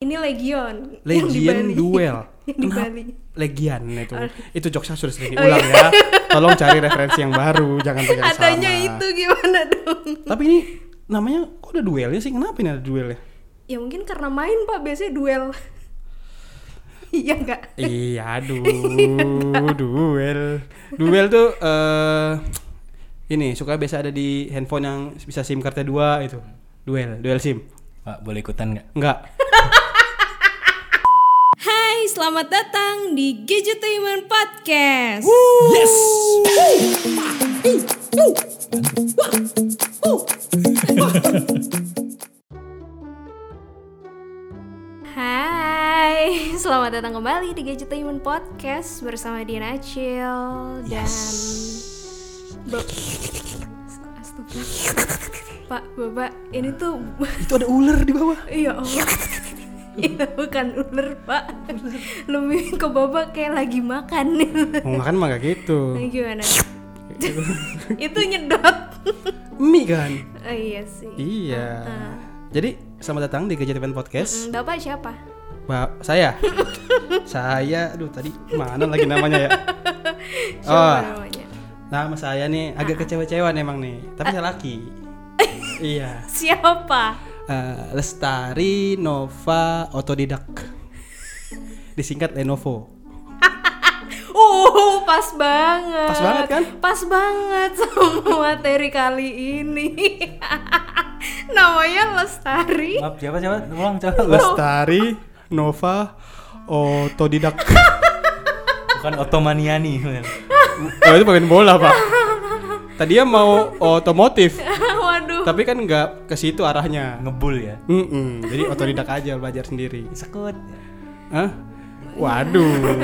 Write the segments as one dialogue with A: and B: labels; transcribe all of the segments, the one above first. A: ini Legion yang di
B: Legion
A: Bali.
B: Duel.
A: yang di
B: Kenapa?
A: Bali
B: Legian itu. Itu jokesnya sudah sering
A: Oh, iya.
B: diulang ya. Tolong cari referensi yang baru, jangan pakai yang
A: katanya
B: sama.
A: itu gimana dong
B: Tapi ini namanya kok ada duelnya sih? Kenapa ini ada duelnya?
A: ya mungkin karena main pak biasanya duel iya enggak
B: Iya, aduh, duel. Duel tuh eh ini suka biasa ada di handphone yang bisa SIM cardnya dua itu. Duel, duel SIM.
C: Pak, boleh ikutan nggak?
B: Enggak.
A: Hai, selamat datang di Gadgetainment Podcast.
C: Yes!
A: Hai, selamat datang kembali di Gadgetainment Podcast bersama Diana Acil dan Ba- Astaga. Pak, Bapak, ini tuh
B: Itu ada ular di bawah.
A: ya
B: Iya.
A: Allah. Itu Iya, bukan ular, Pak. Lebih ke Bapak kayak lagi makan nih.
B: Mau makan mah gak
A: Nah,
B: gitu.
A: gimana? Itu nyedot.
B: Mie kan.
A: Oh, iya sih.
B: Iya.
A: ah.
B: Jadi selamat datang di Kejadian Podcast.
A: Mm, Bapak siapa?
B: Ba- saya. saya aduh tadi mana lagi namanya ya?
A: Siapa
B: Oh,
A: namanya? Ah,
B: nama saya nih agak kecewa-cewaan emang nih, tapi saya laki. iya.
A: Siapa?
B: Eh, Lestari Nova Otodidak. Disingkat Lenovo.
A: Uh, pas banget.
B: Pas banget kan?
A: Pas banget sama materi kali ini. Namanya Lestari.
C: Maaf, siapa siapa? Ulang
A: Oh.
C: coba.
B: Lestari Nova Otodidak.
C: Bukan Otomaniani.
B: oh, itu pemain bola, Pak. Tadinya mau otomotif,
A: Waduh.
B: tapi kan nggak ke situ arahnya.
C: Ngebul ya.
B: Mm-mm, jadi otodidak aja belajar sendiri.
C: Sekut.
B: Hah? Waduh.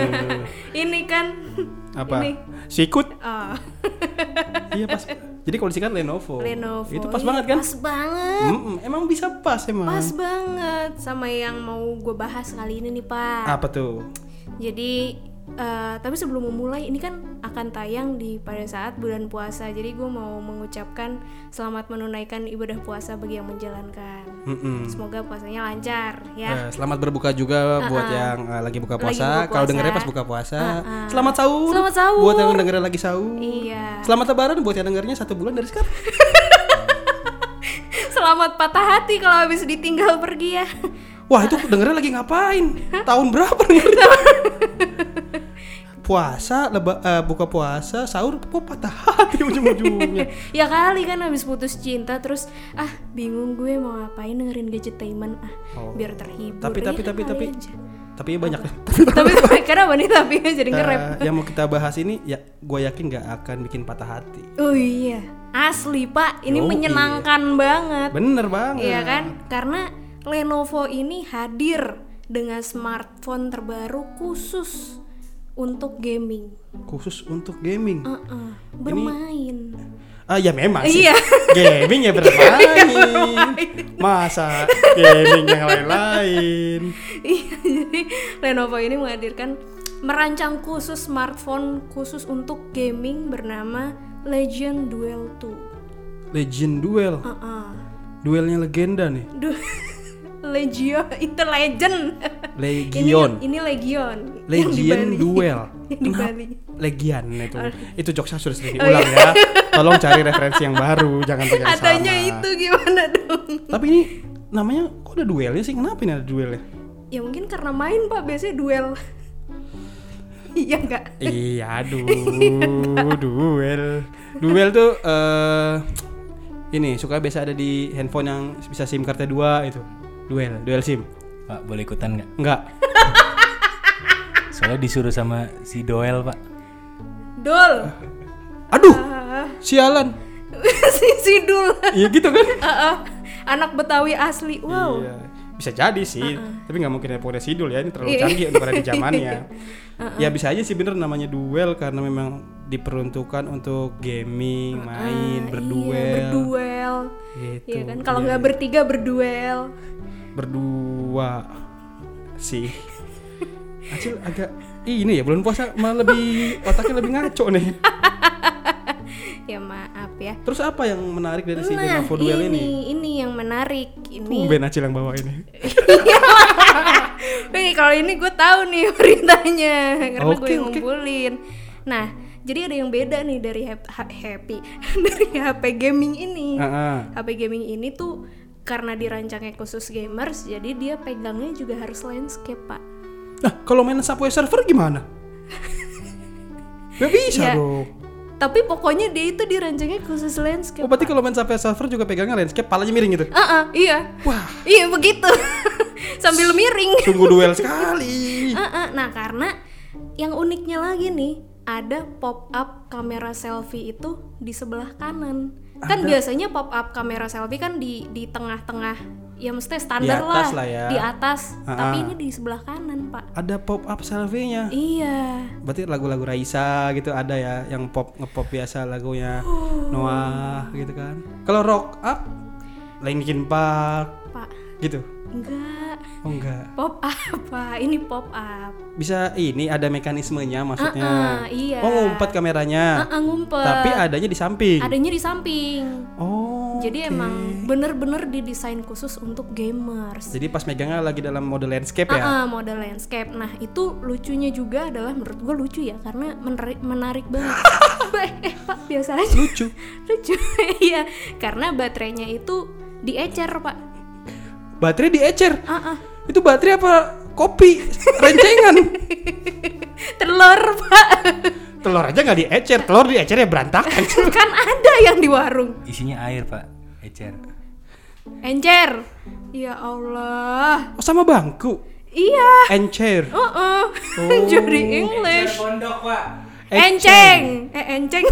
A: Ini kan
B: Apa?
A: Ini.
B: Sikut.
A: Ah,
B: Iya pas. Jadi kalau disingkat Lenovo.
A: Lenovo.
B: Oh, Itu pas
A: Iya,
B: banget kan?
A: Pas banget.
B: Mm-mm, emang bisa pas emang.
A: Pas banget sama yang mau gue bahas kali ini nih, Pak.
B: Apa tuh?
A: Jadi eh, tapi sebelum memulai ini kan akan tayang di pada saat bulan puasa. Jadi gue mau mengucapkan selamat menunaikan ibadah puasa bagi yang menjalankan.
B: Mm-mm.
A: Semoga puasanya lancar ya.
B: Eh, selamat berbuka juga buat yang eh, lagi buka
A: Lagi
B: puasa.
A: buka
B: Kalau
A: puasa.
B: dengernya pas buka puasa. Selamat sahur.
A: Selamat sahur.
B: Buat yang dengernya lagi sahur.
A: Iya.
B: Selamat lebaran buat yang dengernya satu bulan dari sekarang.
A: Selamat patah hati kalau habis ditinggal pergi ya.
B: Wah itu dengernya lagi ngapain? Tahun berapa nih? puasa, leba- eh, buka puasa, sahur, kok patah hati ujung-ujungnya.
A: ya kali kan habis putus cinta terus ah bingung gue mau ngapain dengerin gadgetainment ah
B: Oh.
A: biar terhibur.
B: tapi tapi
A: Iya,
B: tapi
A: kali
B: tapi
A: aja.
B: tapi banyak deh.
A: tapi tapi karena wanita tapi jadi ngerep.
B: Eh, yang mau kita bahas ini ya gue yakin nggak akan bikin patah hati.
A: Oh iya, asli Pak, ini
B: Yoi.
A: menyenangkan banget.
B: Bener banget.
A: Iya kan? Karena Lenovo ini hadir dengan smartphone terbaru khusus untuk gaming.
B: Khusus untuk gaming.
A: Heeh, bermain.
B: Ah ya memang sih.
A: Oh. Iya.
B: Gaming ya bermain. Masa gaming yang lain-lain.
A: Iya, jadi Lenovo ini menghadirkan merancang khusus smartphone khusus untuk gaming bernama Legend Duel 2.
B: Legend duel.
A: Heeh.
B: Duelnya legenda nih.
A: Duh. Legio itu legend.
B: Legion.
A: Ini, ini Legion. yang di
B: Legion
A: Bali.
B: duel.
A: Yang di Bali.
B: Legian itu. Itu jokesnya sudah sering
A: Oh,
B: diulang ya. Tolong cari referensi yang baru, jangan pakai yang
A: Katanya
B: sama.
A: itu gimana dong?
B: Tapi ini namanya kok ada duelnya sih? Kenapa ini ada duelnya?
A: Ya mungkin karena main pak biasanya duel. Iya enggak?
B: Iya, aduh, duel. Duel tuh eh ini suka biasa ada di handphone yang bisa SIM cardnya dua itu. Duel, duel SIM.
C: Pak, boleh ikutan nggak?
B: Enggak.
C: Soalnya disuruh sama si Doel, Pak.
A: Dul. Ah.
B: Aduh, sialan.
A: si si Dul.
B: Iya gitu kan?
A: Heeh. Anak Betawi asli. Wow.
B: Iya. Bisa jadi sih, tapi nggak mungkin handphone sidul ya, ini terlalu
A: Iya.
B: canggih untuk ada di zamannya. Ya bisa aja sih bener namanya duel karena memang diperuntukkan untuk gaming,
A: Ah,
B: main, berduel.
A: Iya, berduel.
B: Gitu.
A: Iya kan? Kalau
B: Iya.
A: nggak bertiga berduel.
B: berdua sih Acil agak ini ya bulan puasa malah lebih otaknya lebih ngaco nih
A: Ya maaf ya. Nah,
B: terus apa yang menarik dari si Lenovo Duel
A: ini
B: ini
A: ini yang menarik ini.
B: Tumben Acil yang bawa ini
A: kalau ini gue tahu nih beritanya karena gue
B: Oke,
A: yang
B: oke.
A: ngumpulin. Nah, jadi ada yang beda nih dari hap- ha- happy dari HP gaming ini.
B: Heeh.
A: HP gaming ini tuh karena dirancangnya khusus gamers, jadi dia pegangnya juga harus landscape, Pak.
B: Nah, kalau main Subway Surfer gimana? Gak bisa
A: Ya.
B: dong.
A: Tapi pokoknya dia itu dirancangnya khusus landscape.
B: Oh, berarti kalau main Subway Surfer juga pegangnya landscape, palanya miring gitu.
A: Ah, ah, iya.
B: Wah.
A: Iya, begitu. Sambil miring.
B: Sungguh duel sekali.
A: Ah, ah. Nah, karena yang uniknya lagi nih, ada pop up kamera selfie itu di sebelah kanan. Kan biasanya pop up kamera selfie kan di di tengah-tengah ya mestinya standar
B: atas lah ya.
A: di atas
B: Ah,
A: tapi
B: ah.
A: ini di sebelah kanan pak
B: Ada pop up selfie-nya.
A: iya
B: Berarti lagu-lagu Raisa gitu ada ya yang pop ngepop biasa lagunya
A: Oh.
B: Noah gitu kan. Kalau rock up Linkin Park
A: pak
B: gitu.
A: enggak
B: Oh enggak.
A: pop up pak ini pop up
B: Bisa ini ada mekanismenya maksudnya.
A: Ah, ah, iya.
B: Oh,
A: ah,
B: ngumpet kameranya.
A: ah, ngumpet
B: Tapi adanya di samping.
A: adanya di samping
B: Oh.
A: Jadi
B: oke.
A: emang bener-bener didesain khusus untuk gamers.
B: Jadi pas megangnya lagi dalam mode landscape ya.
A: Ah, ah, model landscape. Nah itu lucunya juga adalah menurut gue lucu ya karena menarik menarik banget. eh pak biasa aja
B: Lucu.
A: lucu iya karena baterainya itu diecer pak.
B: Baterai diecer.
A: Ah ah.
B: Itu baterai apa kopi rencengan?
A: telur pak
B: telur aja nggak diecer, telur diecer ya berantakan.
A: kan ada yang di warung.
C: Isinya air pak, ecer.
A: Encer. Ya Allah.
B: Oh, sama bangku.
A: Iya.
B: Encer.
A: Uh -uh. Jadi English.
C: pondok pak.
A: Enceng. Eh enceng.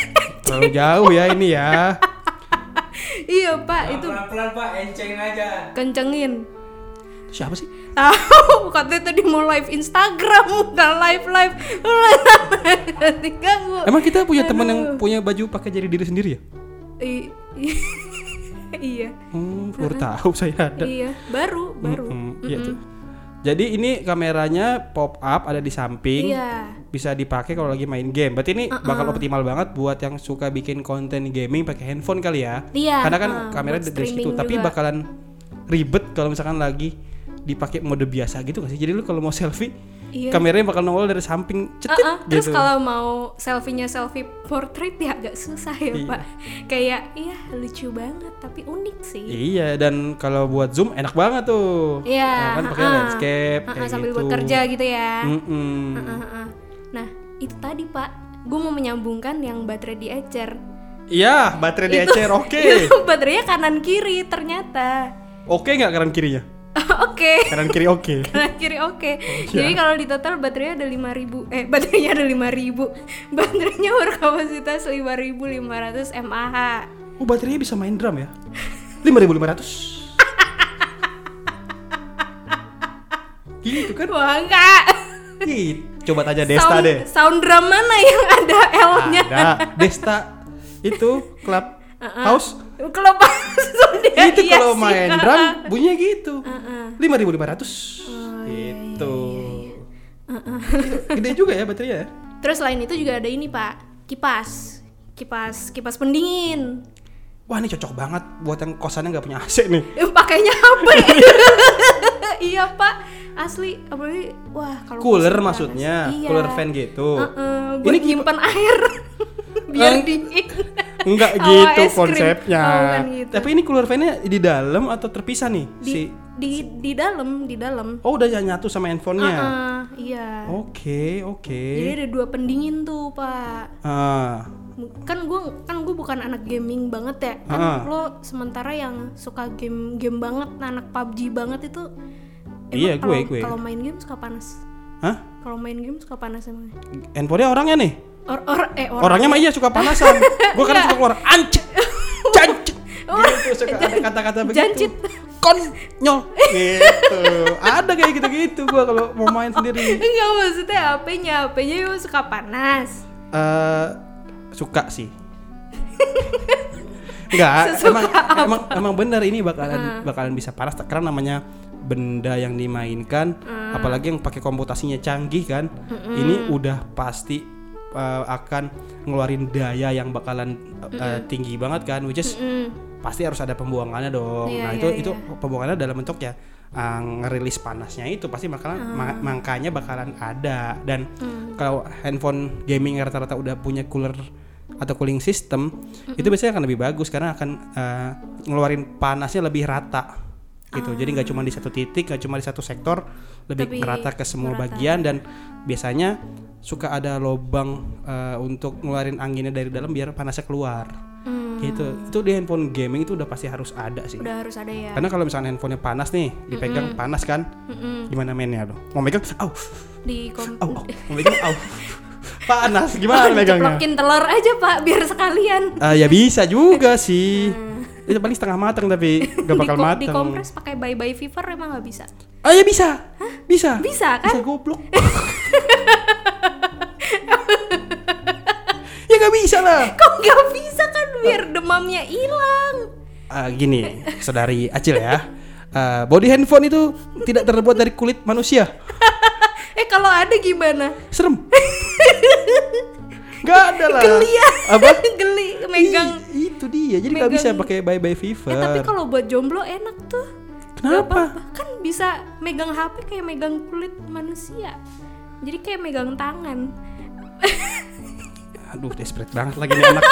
B: Terlalu jauh ya ini ya.
A: iya pak itu
C: pelan pak, enceng aja.
A: kencengin.
B: Siapa sih?
A: Tahu katanya tadi mau live Instagram bukan live live. Diganggu.
B: Emang kita punya teman yang punya baju pakai jari diri sendiri ya?
A: I- i- iya.
B: Hmm, baru tahu saya ada.
A: Iya, baru, baru.
B: Hmm, iya tuh. Jadi ini kameranya pop up ada di samping.
A: Iya.
B: Bisa dipakai kalau lagi main game. Berarti ini
A: Uh-uh.
B: bakal optimal banget buat yang suka bikin konten gaming pakai handphone kali ya.
A: Iya,
B: Karena kan
A: uh, buat
B: kamera dari situ,
A: streaming
B: tapi
A: juga.
B: bakalan ribet kalau misalkan lagi dipakai mode biasa gitu gak sih? Jadi lu kalau mau selfie,
A: Iya.
B: kameranya bakal nongol dari samping. Cetit
A: Ah, ah, Terus
B: gitu.
A: kalau mau selfie-nya selfie portrait ya agak susah ya
B: Iya.
A: pak. Kayak iya lucu banget tapi unik sih.
B: Iya dan kalau buat zoom enak banget tuh.
A: Iya.
B: Nah, kan
A: ah,
B: pakai
A: ah.
B: landscape
A: Ah, ah,
B: kayak
A: sambil
B: gitu.
A: bekerja gitu ya.
B: Mm-mm.
A: Ah, ah, ah. Nah itu tadi pak, gue mau menyambungkan yang baterai di ecer.
B: Iya, baterai di
A: Itu-
B: ecer oke.
A: itu baterainya kanan kiri ternyata.
B: Oke nggak kanan kirinya?
A: oke.
B: Kanan kiri oke.
A: Kanan kiri oke.
B: Iya.
A: Jadi kalau di total baterainya ada 5000 eh baterainya ada 5000. Baterainya berkapasitas 5500 mAh.
B: Oh, baterainya bisa main drum ya. 5500. gitu kan?
A: Wah, enggak.
B: Ih, Coba tanya Desta
A: sound,
B: deh.
A: Sound drum mana yang ada L-nya?
B: Ada Desta itu club house.
A: Kelepas dia. Uh-uh.
B: Itu
A: iya
B: kalau
A: sih. Uh-uh.
B: main drum bunyinya gitu.
A: Heeh.
B: 5500.
A: Oh, iya,
B: gitu. Uh-uh. Gede juga ya baterainya ya.
A: Terus selain itu juga ada ini, Pak. Kipas. Kipas kipas pendingin.
B: Wah ini cocok banget buat yang kosannya nggak punya AC nih.
A: Eh, Pakainya HP. iya, Pak. Asli, apalagi wah kalau
B: Cooler
A: musim panas.
B: maksudnya,
A: Iya.
B: cooler fan gitu.
A: Heeh, buat
B: Ini
A: ini
B: kipa-
A: nyimpan air biar
B: Eh,
A: dingin.
B: Enggak
A: Sama Oh,
B: gitu
A: es krim.
B: konsepnya.
A: Oh, bukan gitu.
B: Tapi ini cooler fan-nya di dalam atau terpisah nih
A: Di,
B: si?
A: di di dalam, di dalam.
B: Oh udah nyatu sama handphonenya.
A: Heeh, iya.
B: Oke oke.
A: Jadi ada dua pendingin tuh, Pak.
B: Ah
A: kan gue kan gue bukan anak gaming banget ya kan
B: Ah.
A: lo sementara yang suka game game banget nah, anak PUBG banget itu emang
B: Iya, gue,
A: kalau-
B: gue.
A: kalau main game suka panas
B: hah?
A: kalau main game suka panas emang
B: Handphonenya orangnya nih.
A: or or eh or
B: Orangnya mah iya suka panasan. Gue kadang suka keluar ancet, jancet.
A: Oh,
B: Gitu suka ada kata-kata begitu.
A: jancit.
B: Konyol. Gitu. ada kayak gitu-gitu gue kalau mau main sendiri.
A: enggak maksudnya HP-nya HP-nya emang suka panas
B: eh suka sih. Enggak, emang, emang emang benar ini bakalan bakalan bisa panas karena namanya benda yang dimainkan apalagi yang pakai komputasinya canggih kan. Ini udah pasti eh, akan ngeluarin daya yang bakalan eh, tinggi banget kan which is
A: Mm.
B: pasti harus ada pembuangannya dong.
A: Iya,
B: nah,
A: iya,
B: itu itu
A: iya.
B: pembuangannya dalam bentuk ya uh, ngerilis panasnya itu pasti bakalan ma- makanya bakalan ada dan kalau handphone gaming yang rata-rata udah punya cooler atau cooling system itu biasanya akan lebih bagus karena akan uh, ngeluarin panasnya lebih rata gitu jadi nggak
A: Ah.
B: cuma di satu titik nggak cuma di satu sektor
A: Tapi
B: lebih rata ke semua
A: merata.
B: bagian dan biasanya suka ada lobang uh, untuk ngeluarin anginnya dari dalam biar panasnya keluar
A: Hmm,
B: gitu itu di handphone gaming itu udah pasti harus ada sih
A: udah harus ada ya
B: karena kalau misalnya handphonenya panas nih dipegang panas kan
A: Mm-mm.
B: gimana mainnya lo mau megang au
A: di kom
B: au au mau megang au panas gimana megangnya
A: Ceplokin telur aja pak biar sekalian
B: Ah, ya bisa juga
A: Hmm.
B: sih itu paling setengah matang tapi gak bakal
A: Diko-
B: matang
A: dikompres pakai bye bye fever emang nggak bisa
B: ah ya bisa bisa
A: Bisa, kan?
B: bisa goblok ya gak bisa lah
A: kok nggak bisa kan biar demamnya hilang
B: Eh, gini, saudari Acil ya. Eh, body handphone itu tidak terbuat dari kulit manusia.
A: eh kalau ada gimana
B: Serem. Gak ada lah.
A: geli ya
B: Apa?
A: geli megang
B: Ih, itu dia. Jadi nggak bisa
A: megang-
B: pakai bye bye
A: Eh, tapi
B: fever.
A: kalau buat jomblo enak tuh Nggak
B: Kenapa?
A: apa-apa. kan bisa megang HP kayak megang kulit manusia jadi kayak megang tangan
B: Aduh, desperate banget lagi nih anak.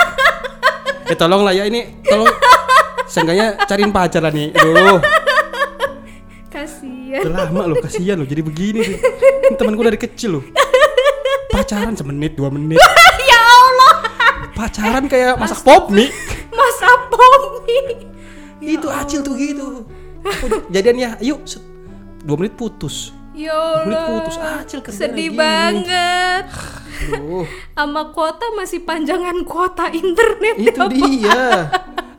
B: Eh tolong lah ya ini, tolong. Seenggaknya cariin pacar lah nih. Aduh,
A: kasian
B: udah lama loh, kasihan loh. Jadi begini sih. Ini temen gue dari kecil loh. Pacaran semenit, dua menit.
A: ya Allah
B: Pacaran kayak masak pop mie.
A: Mas Apomi
B: itu acil tuh gitu Aku jadian ya yuk set. dua menit putus
A: ya
B: dua menit
A: Allah
B: putus acil kerjanya
A: sedih
B: gini.
A: banget
B: Aduh,
A: sama kuota masih panjangan kuota internet
B: itu
A: ya, Pak.
B: dia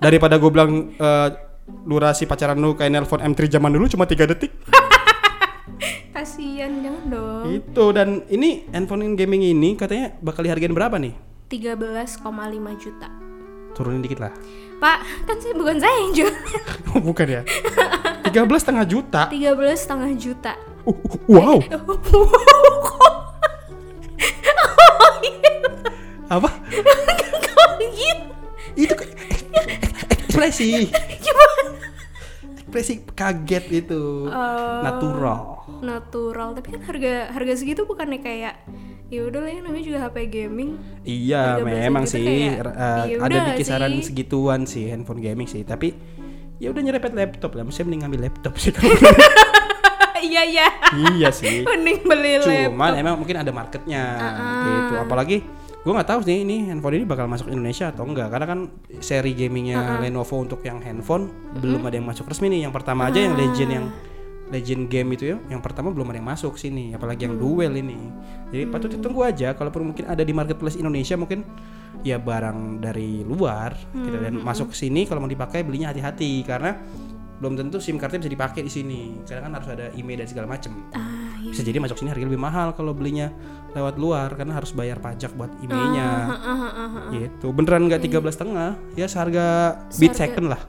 B: daripada gue bilang eh, durasi pacaran lu kayak nelpon M3 zaman dulu cuma tiga detik
A: kasian jangan dong
B: itu Gitu, dan ini handphone gaming ini katanya bakal dihargain berapa nih
A: 13,5 juta
B: turunin dikit lah
A: Pak, kan saya bukan saya yang jual
B: Oh, bukan ya 13 setengah juta
A: 13 setengah juta
B: Uh, uh, wow apa
A: Kok gitu?
B: itu ke- ekspresi
A: Gimana?
B: ekspresi kaget itu
A: Eh,
B: natural
A: Natural, tapi kan harga harga segitu bukannya kayak ya udah lah ya namanya juga HP gaming
B: Iya
A: Harga biasa
B: memang
A: gitu
B: sih
A: kayak,
B: r- eh,
A: ya
B: ada
A: udah
B: di kisaran
A: sih.
B: segituan sih handphone gaming sih tapi ya udah nyerempet laptop lah mesti mending ngambil laptop sih kalau
A: Iya iya
B: iya sih
A: Mending beli laptop
B: cuman emang mungkin ada marketnya gitu apalagi gue nggak tahu sih ini handphone ini bakal masuk Indonesia atau enggak karena kan seri gamingnya Lenovo untuk yang handphone belum ada yang masuk resmi nih yang pertama aja yang Legend yang Legend game itu ya yang pertama belum ada yang masuk sini apalagi yang duel ini jadi patut ditunggu aja kalaupun mungkin ada di marketplace Indonesia mungkin ya barang dari luar gitu dan masuk ke sini kalau mau dipakai belinya hati-hati karena belum tentu SIM cardnya bisa dipakai di sini karena kan harus ada IMEI dan segala macem
A: Ah, iya.
B: bisa jadi masuk sini harga lebih mahal kalau belinya lewat luar karena harus bayar pajak buat IMEI-nya
A: Ah, ah, ah, ah.
B: gitu beneran nggak 13 setengah ya seharga beat
A: Seharga-
B: second lah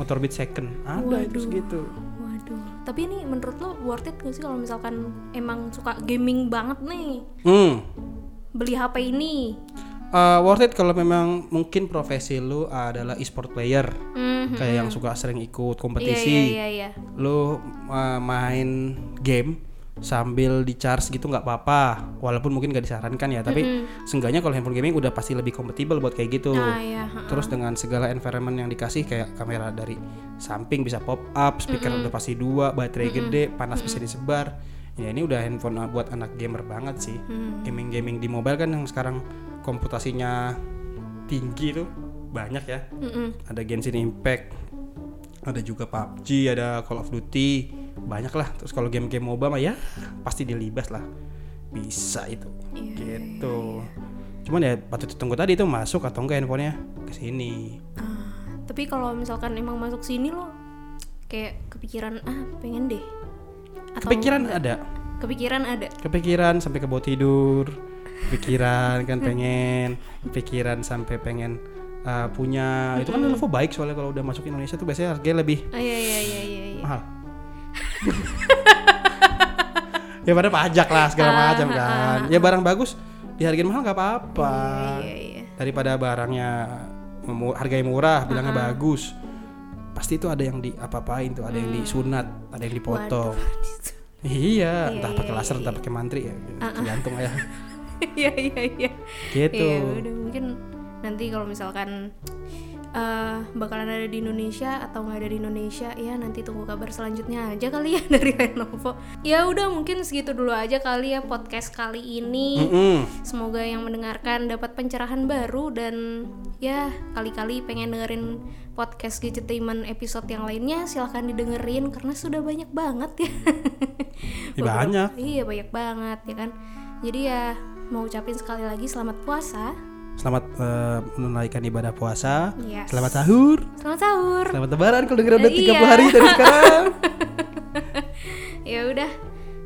B: motor beat second ada gitu. itu segitu
A: Waduh, tapi ini menurut lo worth it gak sih kalau misalkan emang suka gaming banget nih
B: hmm
A: beli HP ini?
B: Eh, worth it kalau memang mungkin profesi lu adalah e-sport player
A: Mhm.
B: kayak yang suka sering
A: Iya
B: ikut kompetisi
A: iya iya iya.
B: lu uh, main game sambil di charge gitu nggak apa-apa walaupun mungkin nggak disarankan ya tapi seenggaknya kalau handphone gaming udah pasti lebih kompatibel buat kayak gitu
A: Mm-hmm. Nah iya. ha.
B: terus dengan segala environment yang dikasih kayak kamera dari samping bisa pop up speaker udah pasti dua baterai gede panas bisa disebar ya ini udah handphone uh, buat anak gamer banget sih gaming gaming di mobile kan yang sekarang komputasinya tinggi tuh banyak ya
A: Mm-mm.
B: ada Genshin Impact, ada juga PUBG, ada Call of Duty, banyak lah. Terus kalau game-game MOBA mah ya pasti dilibas lah. Bisa itu.
A: Iya,
B: gitu. Cuman ya patut ditunggu tadi itu masuk atau enggak handphonenya ke sini.
A: Ah, tapi kalau misalkan emang masuk sini lo kayak kepikiran ah pengen deh. Atau
B: Kepikiran ada,
A: kepikiran ada.
B: kepikiran sampai ke bawah tidur, pikiran kan pengen, pikiran sampai pengen uh, punya. Itu kan Lenovo baik soalnya kalau udah masuk Indonesia tuh biasanya harganya lebih
A: Ah, iya iya iya iya. iya.
B: mahal ya pada pajak lah segala
A: Ah,
B: macam kan ya barang bagus dihargain mahal nggak apa-apa
A: Iya, iya. Ah,
B: daripada barangnya mu- harganya murah bilangnya bagus pasti itu ada yang di apa-apain tuh ada yang disunat ada yang dipotong
A: Hmm. Waduh.
B: iya
A: Iya,
B: entah
A: iya,
B: pakai laser
A: iya, Ah,
B: entah pakai mantri ya tergantung ya
A: Iya iya iya.
B: gitu
A: Iya, udah mungkin nanti kalau misalkan eh, bakalan ada di Indonesia atau nggak ada di Indonesia, ya nanti tunggu kabar selanjutnya aja kali ya dari Lenovo. Ya udah mungkin segitu dulu aja kali ya podcast kali ini.
B: Mm-mm.
A: Semoga yang mendengarkan dapat pencerahan baru dan ya kali-kali pengen dengerin podcast Gadgetainment episode yang lainnya silahkan didengerin karena sudah banyak banget ya.
B: Ya,
A: Beberapa-
B: banyak.
A: Iya banyak banget ya kan. Jadi ya mau ucapin sekali lagi selamat puasa.
B: selamat eh, menunaikan ibadah puasa
A: Yes.
B: selamat sahur
A: Selamat sahur.
B: selamat lebaran kalau dengerin udah
A: Iya.
B: 30 hari dari sekarang
A: Ya udah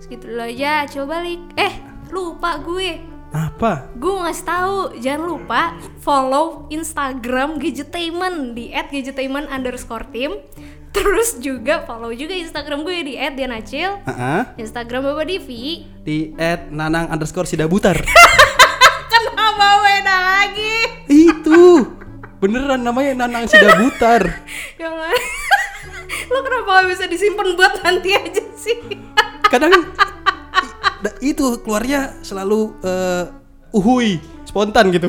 A: segitu dulu aja. Coba balik. Eh lupa gue.
B: apa
A: Gue mau ngasih tahu jangan lupa follow Instagram Gadgetainment di @gadgetainment underscore team. Terus juga follow juga Instagram gue di @dianacil.
B: Ah-ah.
A: Instagram Bapak Divi.
B: di at nanang underscore sidabutar
A: Kenapa beda lagi?
B: itu beneran namanya nanang sidabutar
A: Ya Allah. Lo kenapa gak bisa disimpan buat nanti aja sih?
B: kadang da- itu keluarnya selalu eh, uhui spontan gitu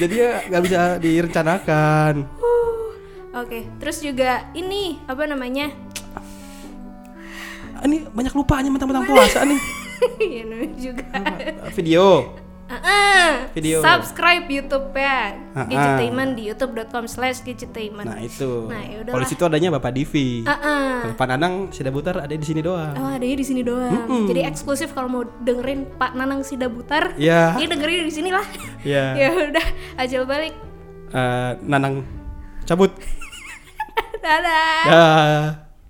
B: jadi ya nggak bisa direncanakan
A: Oke, terus juga ini apa namanya?
B: Ah, ini banyak lupanya mentang-mentang puasa nih
A: ya namanya juga.
B: Ah, video
A: Ah,
B: Video.
A: Subscribe YouTube ya.
B: Ah, ah.
A: Gadgetainment di youtube.com/gadgetainment.
B: nah itu
A: Nah, yaudah
B: kalau
A: lah.
B: di situ adanya bapak Divi
A: Ah, ah.
B: kalau Pak Nanang sidabutar ada di sini doang
A: Oh, adanya di sini doang. Jadi eksklusif kalau mau dengerin Pak Nanang Sidabutar.
B: Iya.
A: Dia dengerin di sinilah.
B: Iya.
A: ya udah, ajal balik.
B: Eh, Nanang cabut
A: Dadah.
B: dah